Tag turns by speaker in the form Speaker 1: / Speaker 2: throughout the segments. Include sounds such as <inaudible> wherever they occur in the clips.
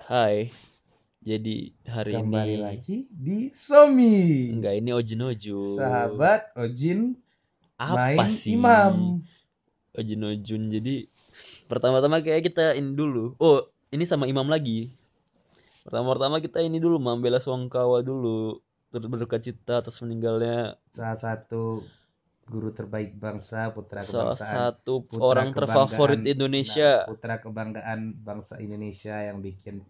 Speaker 1: Hai. Jadi hari
Speaker 2: Kembali
Speaker 1: ini
Speaker 2: lagi di Somi.
Speaker 1: enggak ini Ojinojo.
Speaker 2: Sahabat Ojin
Speaker 1: apa
Speaker 2: main
Speaker 1: sih?
Speaker 2: imam.
Speaker 1: Ojinojun. Jadi pertama-tama kayak kita ini dulu. Oh, ini sama Imam lagi. Pertama-tama kita ini dulu membela Songkawa dulu. Terus berduka cita atas meninggalnya
Speaker 2: Salah satu guru terbaik bangsa putra
Speaker 1: salah
Speaker 2: kebangsaan.
Speaker 1: satu
Speaker 2: putra
Speaker 1: orang terfavorit
Speaker 2: kebanggaan-
Speaker 1: Indonesia,
Speaker 2: Nah, putra kebanggaan bangsa Indonesia yang bikin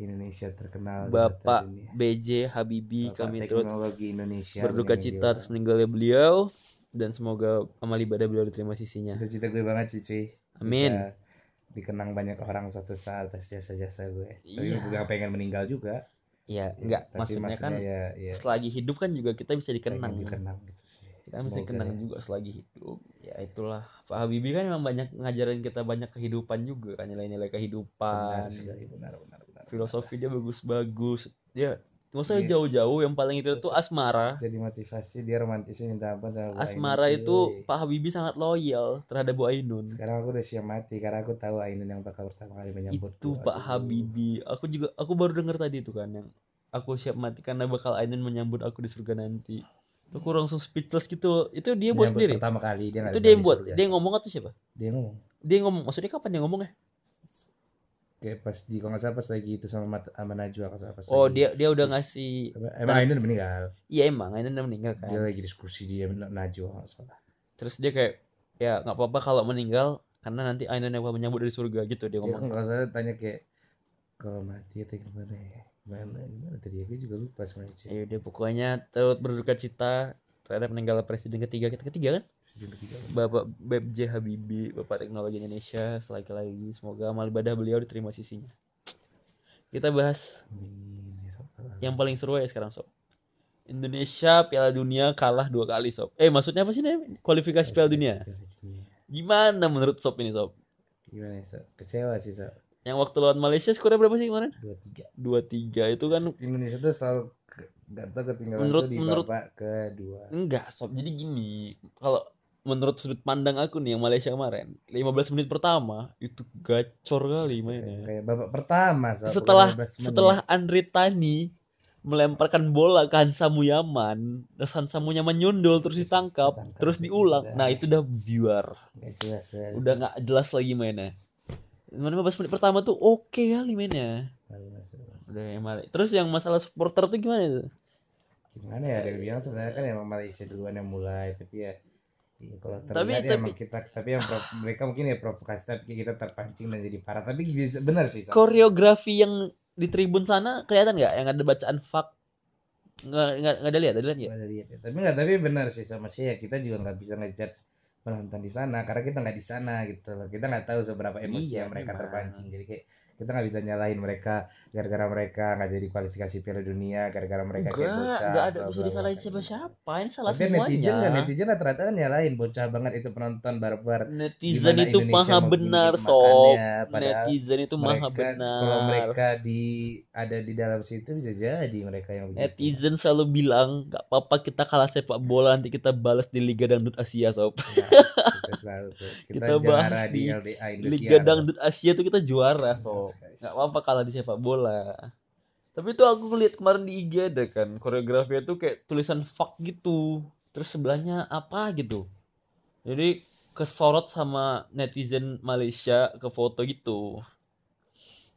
Speaker 2: Indonesia terkenal di mata
Speaker 1: Bapak
Speaker 2: dunia.
Speaker 1: BJ Habibie
Speaker 2: Bapak
Speaker 1: kami turut
Speaker 2: teknologi Indonesia.
Speaker 1: berduka
Speaker 2: menyanyi
Speaker 1: cita atas
Speaker 2: orang.
Speaker 1: meninggalnya beliau dan semoga amal ibadah beliau diterima sisinya.
Speaker 2: Cita-cita gue banget sih cuy.
Speaker 1: Amin.
Speaker 2: Bisa dikenang banyak orang suatu saat atas jasa-jasa gue. Tapi
Speaker 1: Iya.
Speaker 2: gue gak pengen meninggal juga.
Speaker 1: Ya, enggak.
Speaker 2: Tapi
Speaker 1: maksudnya kan
Speaker 2: ya, ya,
Speaker 1: selagi hidup kan juga kita bisa dikenang.
Speaker 2: pengen dikenang gitu sih.
Speaker 1: Kita bisa
Speaker 2: Semoga
Speaker 1: dikenang
Speaker 2: ya.
Speaker 1: juga selagi hidup. Ya itulah. Pak Habibie kan memang banyak ngajarin kita banyak kehidupan juga kan nilai-nilai
Speaker 2: Benar
Speaker 1: kehidupan.
Speaker 2: sekali, benar, benar, benar.
Speaker 1: Kan. Filosofi dia bagus-bagus. Ya, nggak usah
Speaker 2: Iya.
Speaker 1: jauh-jauh yang paling itu tuh
Speaker 2: Cocok.
Speaker 1: asmara.
Speaker 2: Jadi motivasi dia romantisnya minta ampun sama Bu
Speaker 1: Asmara
Speaker 2: Ainun,
Speaker 1: itu
Speaker 2: cuy.
Speaker 1: Pak Habibie sangat loyal terhadap Bu Ainun.
Speaker 2: Sekarang aku udah siap mati karena aku tahu Ainun yang bakal pertama kali menyambut
Speaker 1: itu Pak Habibie. Aku juga aku baru dengar tadi itu kan yang aku siap mati karena bakal Ainun menyambut aku di surga nanti. Itu aku langsung speechless gitu. Itu dia buat sendiri.
Speaker 2: Pertama kali dia nggak
Speaker 1: itu
Speaker 2: ada
Speaker 1: dia yang
Speaker 2: di
Speaker 1: buat
Speaker 2: surga.
Speaker 1: dia yang ngomong atau siapa
Speaker 2: Dia ngomong.
Speaker 1: dia yang ngomong ya? maksudnya kapan dia ngomongnya
Speaker 2: Kayak pas di kalau nggak salah pas lagi itu sama Mat- sama Najwa kalau nggak salah pas
Speaker 1: oh
Speaker 2: lagi-
Speaker 1: dia dia udah
Speaker 2: Terus-
Speaker 1: ngasih
Speaker 2: Apa- Emang Ainun udah meninggal.
Speaker 1: iya emang Ainun udah meninggal
Speaker 2: Dia
Speaker 1: kan
Speaker 2: lagi diskusi dia sama Najwa kalau nggak salah.
Speaker 1: terus dia kayak ya nggak apa-apa kalau meninggal karena nanti Ainun yang bakal menyambut dari surga gitu dia
Speaker 2: Dia kan
Speaker 1: ngomong
Speaker 2: kalau saya tanya kayak kalau mati atau gimana ya? Gimana gimana tadi aku juga lupa sebenarnya. cuy.
Speaker 1: ya udah pokoknya terus berduka cita terhadap meninggal presiden ketiga kita ketiga kan
Speaker 2: Sejujurnya tiga.
Speaker 1: Bapak Beb J Habibie Bapak Teknologi Indonesia selagi lagi semoga amal ibadah beliau diterima sisinya kita bahas
Speaker 2: Amin. ya Rabbal Alamin.
Speaker 1: yang paling seru ya sekarang sob Indonesia Piala Dunia kalah dua kali sob eh maksudnya apa sih nih kualifikasi Piala Dunia
Speaker 2: Piala Dunia.
Speaker 1: gimana menurut sob ini sob
Speaker 2: Gimana ya, Sob? Kecewa sih, Sob.
Speaker 1: yang waktu lawan Malaysia skornya berapa sih kemarin
Speaker 2: 2-3.
Speaker 1: dua tiga itu kan
Speaker 2: Indonesia tuh selalu ke- nggak tahu ketinggalan
Speaker 1: Menurut-
Speaker 2: tuh di
Speaker 1: menurut-
Speaker 2: babak kedua.
Speaker 1: enggak sob jadi gini kalau menurut sudut pandang aku nih yang Malaysia kemarin 15 menit pertama itu gacor kali mainnya
Speaker 2: Kayak babak pertama, Sob. bukan
Speaker 1: Iya. setelah
Speaker 2: 15 menit.
Speaker 1: setelah Andre Tani melemparkan bola ke Hansa Muyaman, terus Hansa Muyaman nyundul terus ditangkap,
Speaker 2: Ditangkap,
Speaker 1: terus
Speaker 2: terus
Speaker 1: diulang.
Speaker 2: udah.
Speaker 1: Nah, itu udah biar,
Speaker 2: nggak jelas. ya.
Speaker 1: udah nggak jelas lagi mainnya. Mana 15 menit pertama tuh oke kali mainnya.
Speaker 2: Lalu masuk.
Speaker 1: Udah yang Mal- Terus yang masalah supporter tuh gimana itu?
Speaker 2: Gimana ya? Ada yang bilang sebenarnya kan emang Malaysia duluan yang mulai, tapi ya Iya, kalau terlihat
Speaker 1: Tapi-
Speaker 2: ya
Speaker 1: tapi-
Speaker 2: emang kita tapi yang prov- mereka mungkin ya provokasi tapi kita terpancing dan jadi parah tapi bisa- benar sih Sob.
Speaker 1: Koreografi yang di tribun sana kelihatan nggak yang ada bacaan fuck? Nggak nggak nggak ada lihat, ada lihat nggak?
Speaker 2: Gua ada lihat ya. Tapi nggak tapi benar sih sama sih ya kita juga nggak bisa ngejat penonton di sana karena kita nggak di sana gitu loh. Kita nggak tahu seberapa emosi
Speaker 1: Iya,
Speaker 2: yang mereka
Speaker 1: memang.
Speaker 2: terpancing. Jadi kayak kita nggak bisa nyalahin mereka gara-gara mereka nggak jadi kualifikasi Piala Dunia gara-gara mereka kayak
Speaker 1: Enggak,
Speaker 2: bocah.
Speaker 1: nggak ada bisa
Speaker 2: bla, bla, bla,
Speaker 1: disalahin
Speaker 2: kayak gitu.
Speaker 1: siapa-siapa. Ini salah
Speaker 2: Tapi
Speaker 1: semuanya.
Speaker 2: netizen kan netizen rata-rata kan nyalahin bocah banget itu penonton barbar.
Speaker 1: Netizen
Speaker 2: Gimana
Speaker 1: itu
Speaker 2: Indonesia
Speaker 1: maha
Speaker 2: mau
Speaker 1: benar
Speaker 2: gigit
Speaker 1: sob.
Speaker 2: makannya, padahal
Speaker 1: Netizen itu maha
Speaker 2: mereka-
Speaker 1: benar.
Speaker 2: Kalau mereka di ada di dalam situ bisa jadi mereka yang begitu.
Speaker 1: Netizen selalu bilang gak apa-apa kita kalah sepak bola nanti kita balas di Liga Dangdut Asia sob.
Speaker 2: Nah, kita selalu tuh. Kita,
Speaker 1: Kita bahas
Speaker 2: juara di
Speaker 1: di
Speaker 2: LDA Indonesia.
Speaker 1: Liga Dangdut Asia tuh kita juara sob.
Speaker 2: Guys.
Speaker 1: Gak apa-apa kalah di sepak bola. Tapi itu aku lihat kemarin di IG ada kan koreografinya tuh kayak tulisan fuck gitu. Terus sebelahnya apa gitu. Jadi kesorot sama netizen Malaysia ke foto gitu.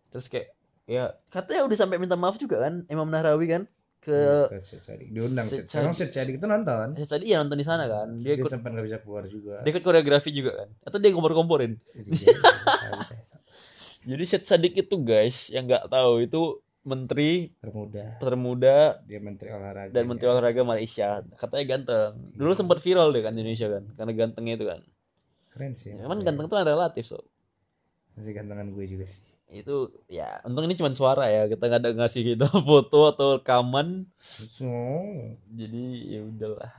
Speaker 1: Terus kayak ya katanya udah sampai minta maaf juga kan Imam Nahrawi kan ke
Speaker 2: Ustaz Syed Syadik. diundang Syed.
Speaker 1: Syed
Speaker 2: Emang Syed Syadik itu nonton
Speaker 1: Ya, tadi ya nonton di sana kan. Dia
Speaker 2: dia,
Speaker 1: ikut
Speaker 2: sempat nggak bisa keluar juga
Speaker 1: dia ikut koreografi juga kan. Atau dia ngompor-ngomporin.
Speaker 2: Jadi, dia- <laughs>
Speaker 1: Jadi Syed Sadik itu guys yang nggak tahu itu menteri
Speaker 2: termuda
Speaker 1: termuda
Speaker 2: dia menteri olahraga
Speaker 1: dan menteri olahraga Malaysia. Katanya ganteng. Dulu sempat viral deh kan di Indonesia kan karena gantengnya itu kan.
Speaker 2: keren sih
Speaker 1: Cuman
Speaker 2: emang.
Speaker 1: ganteng itu kan relatif so.
Speaker 2: masih gantengan gue juga sih
Speaker 1: Itu ya untung ini cuma suara ya. Kita nggak ada ngasih kita <laughs> foto atau rekaman.
Speaker 2: so, oh,
Speaker 1: Jadi ya udahlah.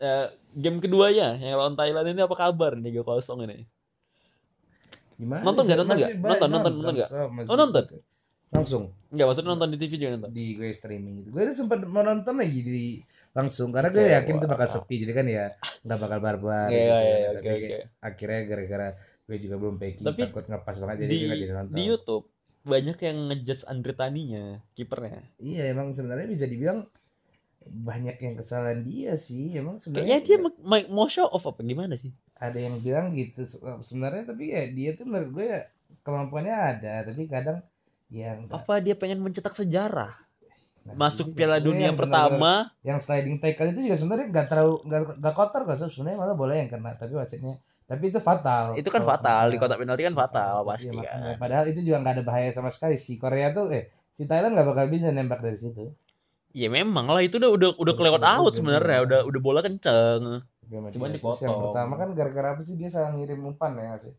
Speaker 1: Eh, game keduanya yang lawan Thailand ini apa kabar nih 3-0 ini?
Speaker 2: gimana
Speaker 1: Nonton
Speaker 2: sih?
Speaker 1: nggak, nonton
Speaker 2: Masih
Speaker 1: nggak?
Speaker 2: banyak
Speaker 1: Nonton, nonton, nonton nggak?
Speaker 2: Sob. Masih-
Speaker 1: Oh, nonton?
Speaker 2: langsung
Speaker 1: Enggak maksudnya nonton di TV juga nonton.
Speaker 2: di gue streaming gitu. gue udah sempat menonton lagi di langsung karena gue
Speaker 1: Kecewa.
Speaker 2: yakin itu bakal sepi jadi kan ya nggak bakal barbar
Speaker 1: Oke,
Speaker 2: gitu kan.
Speaker 1: ya, oke,
Speaker 2: Tapi
Speaker 1: oke,
Speaker 2: kayak
Speaker 1: oke.
Speaker 2: akhirnya gara-gara gue juga belum packing
Speaker 1: Tapi
Speaker 2: takut ngepas banget jadi
Speaker 1: Di
Speaker 2: gue nggak jadi nonton
Speaker 1: di YouTube banyak yang ngejudge Andre Taninya, kipernya.
Speaker 2: Iya emang sebenarnya bisa dibilang banyak yang kesalahan dia sih
Speaker 1: Kayaknya
Speaker 2: emang sebenarnya
Speaker 1: dia ma- ma- mau show off apa gimana sih?
Speaker 2: ada yang bilang gitu se- sebenarnya tapi ya dia tuh menurut gue ya kemampuannya ada tapi kadang ya yang
Speaker 1: Apa dia pengen mencetak sejarah?
Speaker 2: gitu
Speaker 1: Masuk Piala Dunia pertama,
Speaker 2: Iya, yang sliding tackle itu juga sebenarnya nggak terlalu nggak nggak kotor kok Sob. sebenarnya malah bola yang kena tapi wasitnya tapi itu fatal
Speaker 1: itu kan
Speaker 2: Kalau
Speaker 1: fatal
Speaker 2: kena.
Speaker 1: di kotak penalti kan fatal
Speaker 2: Iya,
Speaker 1: pasti
Speaker 2: makanya.
Speaker 1: kan.
Speaker 2: padahal itu juga nggak ada bahaya sama sekali si Korea tuh eh si Thailand nggak bakal bisa nembak dari situ
Speaker 1: Ya memang lah itu udah udah udah
Speaker 2: Iya,
Speaker 1: kelewat
Speaker 2: iya,
Speaker 1: out
Speaker 2: iya.
Speaker 1: sebenarnya, udah udah bola kenceng.
Speaker 2: Cuman
Speaker 1: Cuman
Speaker 2: yang
Speaker 1: dipotong.
Speaker 2: pertama kan gara-gara apa sih dia salah ngirim umpan ya nggak sih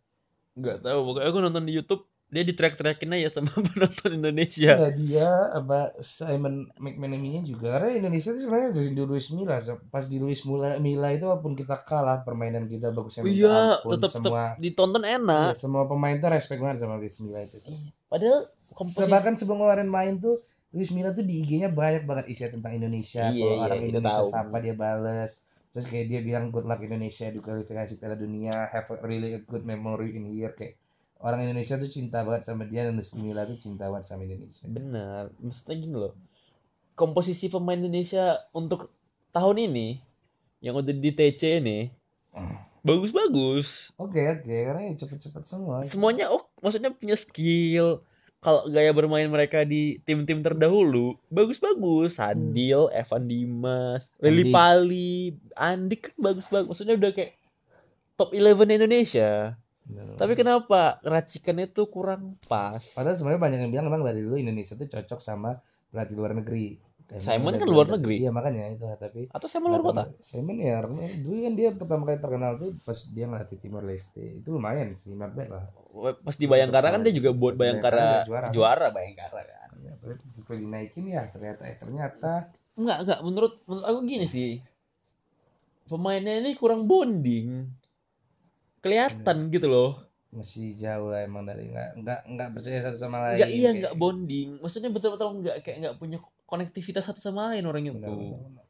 Speaker 1: Gak tahu pokoknya aku nonton di YouTube dia diteriak-teriakin aja sama <laughs> penonton Indonesia.
Speaker 2: ya dia apa Simon McManamy-nya juga karena Indonesia tuh sebenarnya dari di Luis Milla Sob. pas di Luis Mula, Milla itu walaupun kita kalah permainan kita bagusnya minta
Speaker 1: Iya,
Speaker 2: ampun.
Speaker 1: tetap tetap
Speaker 2: semua
Speaker 1: ditonton enak.
Speaker 2: iya, semua pemain tuh respect banget sama Luis Milla itu sih
Speaker 1: Padahal komposisi
Speaker 2: bahkan sebelum kemarin main tuh Luis Milla tuh di IG-nya banyak banget isinya tentang
Speaker 1: Iya,
Speaker 2: Indonesia kalau
Speaker 1: iya,
Speaker 2: orang
Speaker 1: kita
Speaker 2: Indonesia
Speaker 1: tahu.
Speaker 2: sapa dia bales terus kayak dia bilang good luck Indonesia di kualifikasi Piala Dunia have a really a good memory in here kayak orang Indonesia tuh cinta banget sama dia dan Luis Milla tuh cinta banget sama Indonesia
Speaker 1: Benar, maksudnya gini loh. Komposisi pemain Indonesia untuk tahun ini yang udah di TC ini
Speaker 2: Hmm.
Speaker 1: bagus-bagus.
Speaker 2: Oke oke karena ya cepet-cepet semua.
Speaker 1: Semuanya oh, maksudnya punya skill. Kalau gaya bermain mereka di tim-tim terdahulu bagus-bagus. Sadil, Evan Dimas, Lili
Speaker 2: Andik.
Speaker 1: Pali, Andik kan bagus-bagus. Maksudnya udah kayak top 11 Indonesia.
Speaker 2: Bener.
Speaker 1: Tapi kenapa racikannya tuh kurang pas?
Speaker 2: padahal sebenarnya banyak yang bilang emang dari dulu Indonesia tuh cocok sama pelatih luar negeri. Dan
Speaker 1: Simon
Speaker 2: emang
Speaker 1: kan
Speaker 2: dari-
Speaker 1: luar negeri.
Speaker 2: Iya makanya itu tapi
Speaker 1: Atau saya luar kota?
Speaker 2: Simon ya dulu kan dia pertama kali terkenal tuh pas dia ngelatih Timor Leste itu lumayan sih not bad lah.
Speaker 1: Pas di Bayangkara kan dia juga buat Bayangkara
Speaker 2: Bayangkara dia
Speaker 1: juara Bayangkara kan.
Speaker 2: Ya, tapi begitu dinaikin ya ternyata eh, ternyata
Speaker 1: Enggak, enggak. Menurut menurut aku gini sih. Pemainnya ini kurang bonding. Kelihatan gitu loh.
Speaker 2: masih jauh lah emang dari nggak nggak nggak percaya satu sama lain.
Speaker 1: Enggak iya,
Speaker 2: kayak- gitu.
Speaker 1: enggak bonding. Maksudnya betul-betul enggak kayak enggak punya konektivitas satu sama lain orang itu.
Speaker 2: Bener, bener.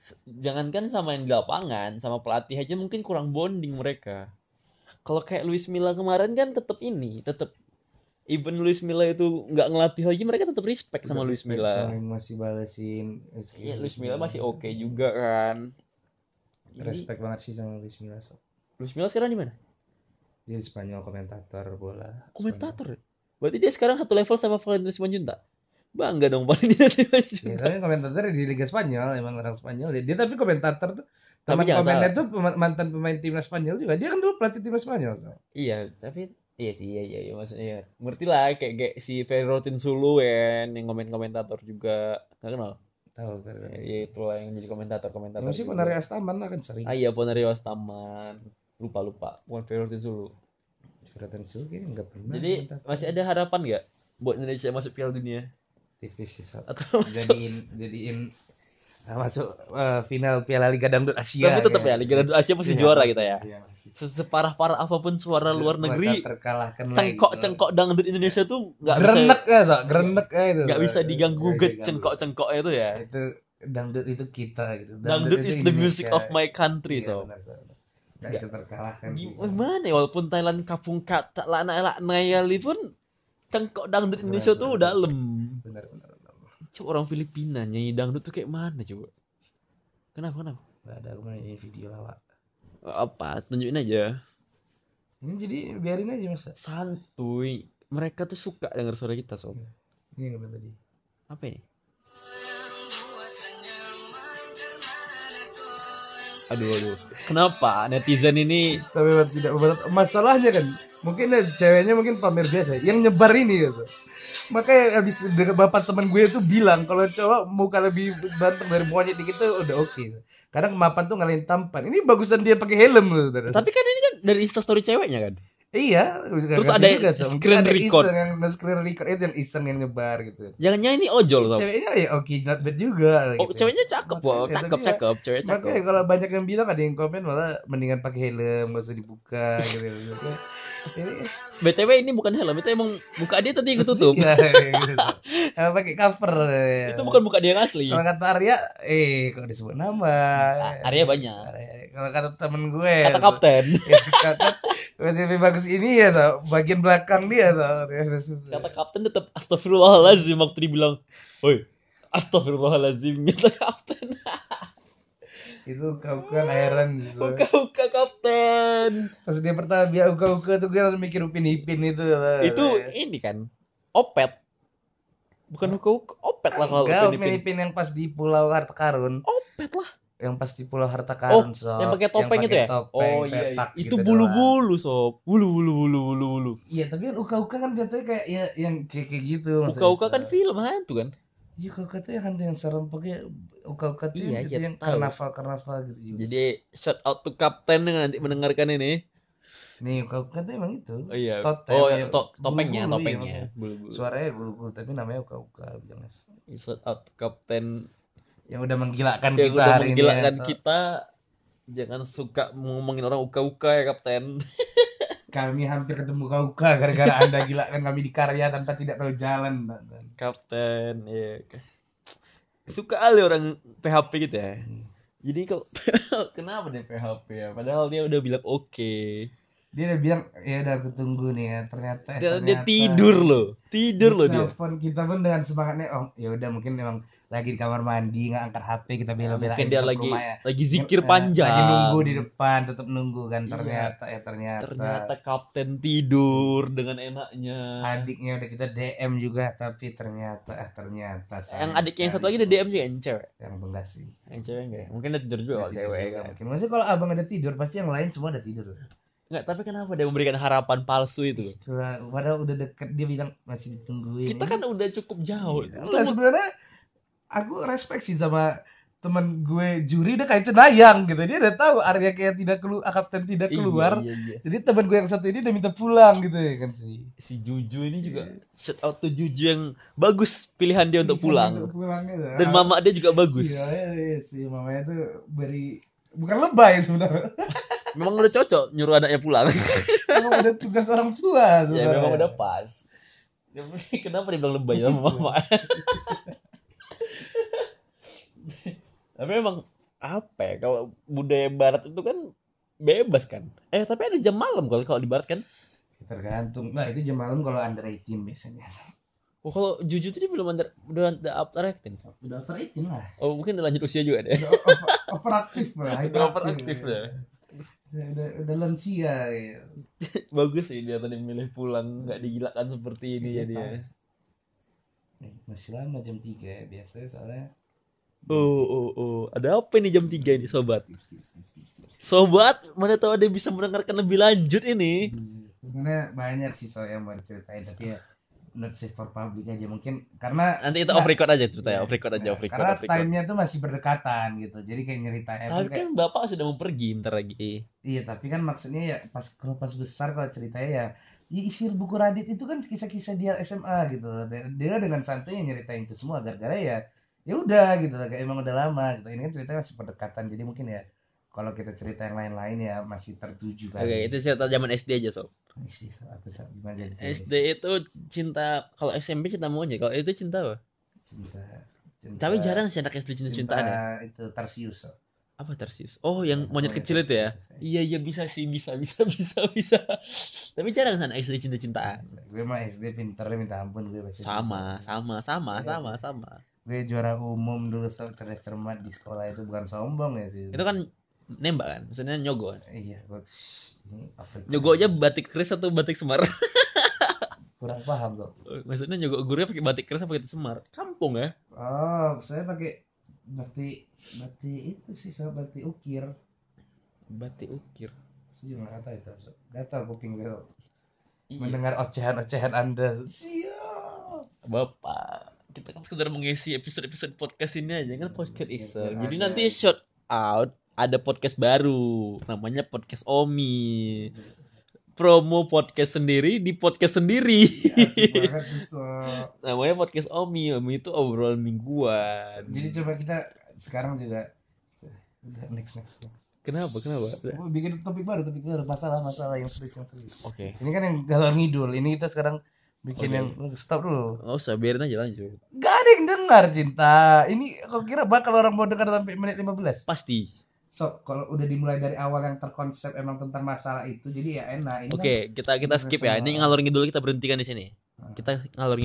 Speaker 1: S- Jangankan sama yang di lapangan, sama pelatih aja mungkin kurang bonding mereka. Kalau kayak Luis Milla kemarin kan tetap ini, tetap even Luis Milla itu nggak ngelatih lagi mereka tetap respect sama
Speaker 2: Udah
Speaker 1: Luis
Speaker 2: respect
Speaker 1: Milla.
Speaker 2: sama yang masih balesin.
Speaker 1: Iya, Luis Milla masih oke juga kan. Jadi,
Speaker 2: Respect banget sih sama Luis Milla. so.
Speaker 1: Luis Milla sekarang di mana?
Speaker 2: Dia di Spanyol komentator bola.
Speaker 1: Komentator. ya? Berarti dia sekarang satu level sama Valentino Simanjunta. Bangga dong Valentino
Speaker 2: Ya,
Speaker 1: Simanjunta.
Speaker 2: soalnya komentator di Liga Spanyol emang orang Spanyol. Dia, dia tapi komentator tuh
Speaker 1: Tapi
Speaker 2: teman
Speaker 1: jangan
Speaker 2: komennya tuh pema- mantan pemain timnas Spanyol juga. Dia kan dulu pelatih timnas Spanyol. so.
Speaker 1: Iya, tapi iya sih, iya, iya, iya maksudnya. Iya. Ngerti lah kayak, kayak si Ferrotin Suluwen yang komen-komentator juga. Gak kenal?
Speaker 2: Tahu kan.
Speaker 1: Ya, Iya, itu lah yang jadi komentator-komentator.
Speaker 2: Yang sih
Speaker 1: juga.
Speaker 2: menarik Astaman lah kan sering.
Speaker 1: Ah iya, Ponario Astaman. Lupa, lupa. Bukan Ferrotin Sulu.
Speaker 2: Jonathan Sue kayaknya nggak pernah.
Speaker 1: Jadi, masih ada harapan nggak buat Indonesia masuk Piala Dunia?
Speaker 2: TV sih.
Speaker 1: <laughs>
Speaker 2: so.
Speaker 1: Atau masuk
Speaker 2: Jadiin jadiin uh, masuk uh, final Piala Liga Dangdut Asia.
Speaker 1: Tapi tetap ya,
Speaker 2: kayak.
Speaker 1: Liga Dangdut Asia masih
Speaker 2: Iya,
Speaker 1: juara kita ya.
Speaker 2: Iya, masih.
Speaker 1: Separah-parah apapun suara luar
Speaker 2: Maka
Speaker 1: negeri,
Speaker 2: terkalahkan lagi, so.
Speaker 1: cengkok-cengkok dangdut Indonesia tuh nggak bisa
Speaker 2: gitu.
Speaker 1: Iya.
Speaker 2: Grenek ya, so. Grenek ya itu.
Speaker 1: nggak
Speaker 2: so.
Speaker 1: bisa diganggu
Speaker 2: Nggak
Speaker 1: gugat
Speaker 2: diganggu.
Speaker 1: cengkok-cengkok itu ya.
Speaker 2: itu dangdut itu kita gitu
Speaker 1: Dangdut is the music of my country
Speaker 2: country
Speaker 1: so.
Speaker 2: Gak bisa terkalahkan
Speaker 1: Gimana ya walaupun Thailand kapung kata lana nayali pun cengkok dangdut
Speaker 2: Benar,
Speaker 1: Indonesia tuh
Speaker 2: benar.
Speaker 1: dalam.
Speaker 2: benar benar benar
Speaker 1: Coba orang Filipina nyanyi dangdut tuh kayak mana coba? Kenapa kenapa?
Speaker 2: Gak ada aku mau nyanyiin video lawak
Speaker 1: Apa? Tunjukin aja.
Speaker 2: ini jadi biarin aja masa
Speaker 1: Santuy. Mereka tuh suka denger suara kita sob.
Speaker 2: ini yang tadi
Speaker 1: Apa ya? Aduh aduh. Kenapa netizen ini
Speaker 2: tapi memang tidak berat masalahnya kan mungkin ada ceweknya mungkin pamer biasa yang nyebar ini gitu makanya habis dengar bapak teman gue itu bilang kalau cowok muka lebih banteng dari monyet dikit tuh udah oke kadang mapan tuh ngalahin tampan ini bagusan dia pakai helm loh saudara.
Speaker 1: Tapi kan ini kan dari instastory ceweknya kan?
Speaker 2: Iya,
Speaker 1: Terus ada
Speaker 2: Sam. Mungkin
Speaker 1: screen
Speaker 2: ada
Speaker 1: record.
Speaker 2: iseng yang screen record itu yang iseng yang nyebar gitu.
Speaker 1: Jangan-jangan ini ojol sob.
Speaker 2: Ceweknya ya oke, not bad juga.
Speaker 1: Oh,
Speaker 2: gitu.
Speaker 1: ceweknya cakep loh,
Speaker 2: Makanya,
Speaker 1: cakep
Speaker 2: tapi ya-
Speaker 1: cakep, cewek cakep.
Speaker 2: Makanya kalau banyak yang bilang ada yang komen malah mendingan pakai helm, gak usah dibuka gitu. gitu. Ini-
Speaker 1: BTW ini bukan ya, helm, itu emang muka dia tadi yang ketutup.
Speaker 2: Iya, gitu. Eh, pakai cover. ya.
Speaker 1: itu bukan muka dia yang asli.
Speaker 2: Kalau kata Arya, eh kok disebut nama?
Speaker 1: Arya banyak.
Speaker 2: Arya. Kalau kata temen gue, <laughs>
Speaker 1: Kata kapten.
Speaker 2: Iya. Ya, kata- masih lebih bagus harus ini ya tau, bagian belakang dia tau. Harus-
Speaker 1: Kata kapten tetap astagfirullahalazim waktu dibilang, "Woi, astagfirullahalazim." Kata kapten.
Speaker 2: Iya. itu kau kan heran gitu.
Speaker 1: Uka-uka kapten.
Speaker 2: Pas dia pertama dia uka-uka tuh gue langsung mikir Upin Ipin itu. tau.
Speaker 1: Itu
Speaker 2: iya.
Speaker 1: ini kan opet. Bukan uka-uka, opet lah kalau
Speaker 2: Enggak,
Speaker 1: Upin
Speaker 2: Upin
Speaker 1: Ipin.
Speaker 2: Ipin yang pas di Pulau Harta Karun.
Speaker 1: Opet lah.
Speaker 2: Yang pas di Pulau Harta Karun,
Speaker 1: Oh,
Speaker 2: Sob.
Speaker 1: Yang pakai topeng
Speaker 2: Oh, pakai
Speaker 1: itu ya?
Speaker 2: topeng,
Speaker 1: Oh iya, iya.
Speaker 2: petak
Speaker 1: Itu
Speaker 2: gitu doang.
Speaker 1: bulu-bulu, sob. Bulu-bulu bulu-bulu bulu.
Speaker 2: Iya, tapi kan uka-uka kan jatuhnya kayak ya, yang kayak kayak gitu. maksudnya,
Speaker 1: Uka-uka kan
Speaker 2: Sob.
Speaker 1: film hantu kan?
Speaker 2: Iya, uka-uka tuh yang hantu yang serem pakai uka-uka tuh
Speaker 1: Iya,
Speaker 2: yang, gitu
Speaker 1: iya,
Speaker 2: yang
Speaker 1: tahu.
Speaker 2: karnaval-karnaval gitu.
Speaker 1: Jadi shout out to kapten yang nanti mendengarkan ini.
Speaker 2: nih uka-uka tuh emang itu.
Speaker 1: Oh iya.
Speaker 2: Totem,
Speaker 1: Oh,
Speaker 2: iya.
Speaker 1: to- topengnya,
Speaker 2: Bulu-bulu, iya,
Speaker 1: topengnya. Bulu-bulu.
Speaker 2: Suaranya bulu-bulu tapi namanya uka-uka bilang Mas.
Speaker 1: Shout out to kapten
Speaker 2: Yang udah menggilakan
Speaker 1: yang
Speaker 2: kita
Speaker 1: udah
Speaker 2: hari ini.
Speaker 1: menggilakan
Speaker 2: ya, Sob.
Speaker 1: kita jangan suka ngomongin orang uka-uka ya kapten
Speaker 2: Kami hampir ketemu uka-uka gara-gara Anda gilakan kami di karya tanpa tidak tahu jalan, Pak.
Speaker 1: <laughs> kapten ya suka kali orang PHP gitu ya
Speaker 2: Hmm.
Speaker 1: jadi kalau <laughs> kenapa dia PHP ya padahal dia udah bilang oke
Speaker 2: Eh, Dia udah bilang, ya udah aku tunggu nih ya. Ternyata eh,
Speaker 1: dia, dia
Speaker 2: ternyata
Speaker 1: tidur loh tidur loh dia
Speaker 2: Telepon kita pun dengan semangatnya, oh ya udah mungkin memang lagi di kamar mandi nggak angkat HP kita
Speaker 1: Ah,
Speaker 2: bela-belain.
Speaker 1: mungkin dia
Speaker 2: tetap
Speaker 1: lagi
Speaker 2: rumah ya.
Speaker 1: lagi zikir
Speaker 2: Eh,
Speaker 1: panjang
Speaker 2: Lagi nunggu di depan, tetap nunggu kan.
Speaker 1: Iya.
Speaker 2: Ternyata ya ternyata.
Speaker 1: ternyata kapten tidur dengan enaknya
Speaker 2: Adiknya udah kita DM juga, tapi ternyata eh
Speaker 1: yang
Speaker 2: ternyata. sayang
Speaker 1: adiknya yang satu lagi
Speaker 2: sekali.
Speaker 1: dia DM juga yang cewek
Speaker 2: Yang Bekasi.
Speaker 1: yang cewek enggak ya? mungkin dia tidur juga kalau cewek
Speaker 2: Nggak Iya, tidur juga
Speaker 1: kan
Speaker 2: mungkin. Maksudnya kalau abang ada tidur pasti yang lain semua ada tidur.
Speaker 1: Enggak, tapi kenapa dia memberikan harapan palsu itu?
Speaker 2: Setelah- Padahal udah deket dia bilang masih ditungguin.
Speaker 1: Kita kan udah cukup jauh.
Speaker 2: Gitu.
Speaker 1: Itu
Speaker 2: Enggak sebenarnya aku respect sih sama temen gue juri udah kayak cenayang gitu dia udah tahu area kayak tidak keluar kapten tidak
Speaker 1: Iya,
Speaker 2: keluar
Speaker 1: Iya, iya.
Speaker 2: jadi temen gue yang satu ini udah minta pulang gitu ya kan sih
Speaker 1: Si Juju ini juga
Speaker 2: Iya.
Speaker 1: shout out to Juju yang bagus pilihan dia untuk pulang.
Speaker 2: Untuk pulang gitu.
Speaker 1: Dan mama dia juga bagus.
Speaker 2: iya, iya, iya, sih mamanya tuh beri bukan
Speaker 1: <laughs>
Speaker 2: lebay sebenarnya
Speaker 1: Memang udah cocok nyuruh anaknya pulang.
Speaker 2: Emang udah tugas orang tua
Speaker 1: ya
Speaker 2: sebenarnya.
Speaker 1: memang udah pas. <laughs> Ya, Kenapa dia bilang lebay sama mama? tapi emang apa ya? Kalau budaya barat itu kan bebas kan. Eh tapi ada jam malam kalau kalau di barat kan.
Speaker 2: tergantung nah itu jam malam kalau under 18 biasanya
Speaker 1: Oh, kalau Juju tuh dia belum under, udah under after acting.
Speaker 2: udah over 18
Speaker 1: <laughs>
Speaker 2: lah
Speaker 1: Oh mungkin udah lanjut usia juga deh.
Speaker 2: udah over, overaktif lah
Speaker 1: Udah overaktif lah.
Speaker 2: udah, udah, udah lansia ya.
Speaker 1: Bagus sih dia tadi milih pulang nggak digilakan seperti ini
Speaker 2: Iya,
Speaker 1: ya dia.
Speaker 2: Eh, masih lama jam 3 ya biasanya soalnya
Speaker 1: Oh oh oh ada apa nih jam 3 ini sobat?
Speaker 2: skip skip skip skip skip
Speaker 1: Sobat mana tahu ada yang bisa mendengarkan lebih lanjut ini.
Speaker 2: sebenarnya banyak sih soal yang mau diceritain tapi ya not safe for public aja mungkin karena
Speaker 1: Nanti kita off record aja ceritanya, off record aja, off record,
Speaker 2: Nah. karena
Speaker 1: off record.
Speaker 2: time-nya tuh masih berdekatan gitu jadi kayak nyeritain tuh
Speaker 1: Tapi
Speaker 2: kayak,
Speaker 1: kan bapak sudah mau pergi ntar lagi.
Speaker 2: iya tapi kan maksudnya ya pas kalau pas besar kalau ceritanya ya ya isi buku Radit itu kan kisah-kisah dia SMA gitu dia dia dengan santuy nyeritain itu semua gara-gara ya ya udah gitu kayak emang udah lama gitu ini kan ceritanya masih berdekatan jadi mungkin ya kalau kita cerita yang lain-lain ya masih tertuju
Speaker 1: Oke
Speaker 2: kan
Speaker 1: itu cerita zaman SD aja sob.
Speaker 2: Isi, apa sih gimana jadi
Speaker 1: SD itu cinta kalau SMP cinta monyet, kalau itu cinta apa?
Speaker 2: cinta, cinta
Speaker 1: Tapi jarang sih anak SD cinta cintaan ya.
Speaker 2: itu Tarsius oh. so.
Speaker 1: Apa tersis? Oh
Speaker 2: Iya.
Speaker 1: yang monyet kecil itu ya.
Speaker 2: Tarsius.
Speaker 1: Iya iya bisa sih bisa bisa bisa bisa. Tapi jarang sana istri cinta cintaan.
Speaker 2: Iya. gue mah SD pinter minta ampun gue masih
Speaker 1: Sama sama sama
Speaker 2: Iya.
Speaker 1: sama sama.
Speaker 2: gue juara umum dulu so cerdas cermat di sekolah itu bukan sombong ya sih
Speaker 1: Itu kan nembak kan? Maksudnya nyogo. kan?
Speaker 2: iya gue ini Afrika
Speaker 1: Nyogo aja batik keris atau batik semar?
Speaker 2: kurang paham tuh
Speaker 1: Maksudnya nyogo gurunya pakai batik keris apa pakai semar? Kampung ya?
Speaker 2: oh saya pakai berarti berarti itu sih so berarti ukir
Speaker 1: Batik ukir.
Speaker 2: saya juga nggak tahu itu so. gatal kuping gue
Speaker 1: Iya.
Speaker 2: mendengar ocehan-ocehan anda siap
Speaker 1: Bapak. Kita kan sekedar mengisi episode-episode podcast ini aja kan podcast
Speaker 2: Iya,
Speaker 1: iseng. Jadi
Speaker 2: Ada.
Speaker 1: nanti shout out ada podcast baru namanya podcast Omi. Promo podcast sendiri di podcast sendiri.
Speaker 2: Iya, asik banget tuh, so.
Speaker 1: <laughs> namanya podcast Omi Omi itu obrolan mingguan
Speaker 2: Jadi coba kita sekarang juga udah next next. next.
Speaker 1: kenapa kenapa oke
Speaker 2: Gua bikin topik baru, topik baru masalah-masalah yang serius yang serius. Ini kan yang galor ngidul. Ini kita sekarang
Speaker 1: Oke.
Speaker 2: bikin yang stop dulu.
Speaker 1: nggak usah biarin aja lanjut
Speaker 2: Gak ada yang dengar cinta. Ini kau kira bakal orang mau dengar sampai menit 15?
Speaker 1: pasti
Speaker 2: so kalau udah dimulai dari awal yang terkonsep emang tentang masalah itu jadi ya enak ini kan Hmm.
Speaker 1: Oke, kita kita skip ya. Ini ngalor ngidul kita berhentikan di sini. Kita ngalor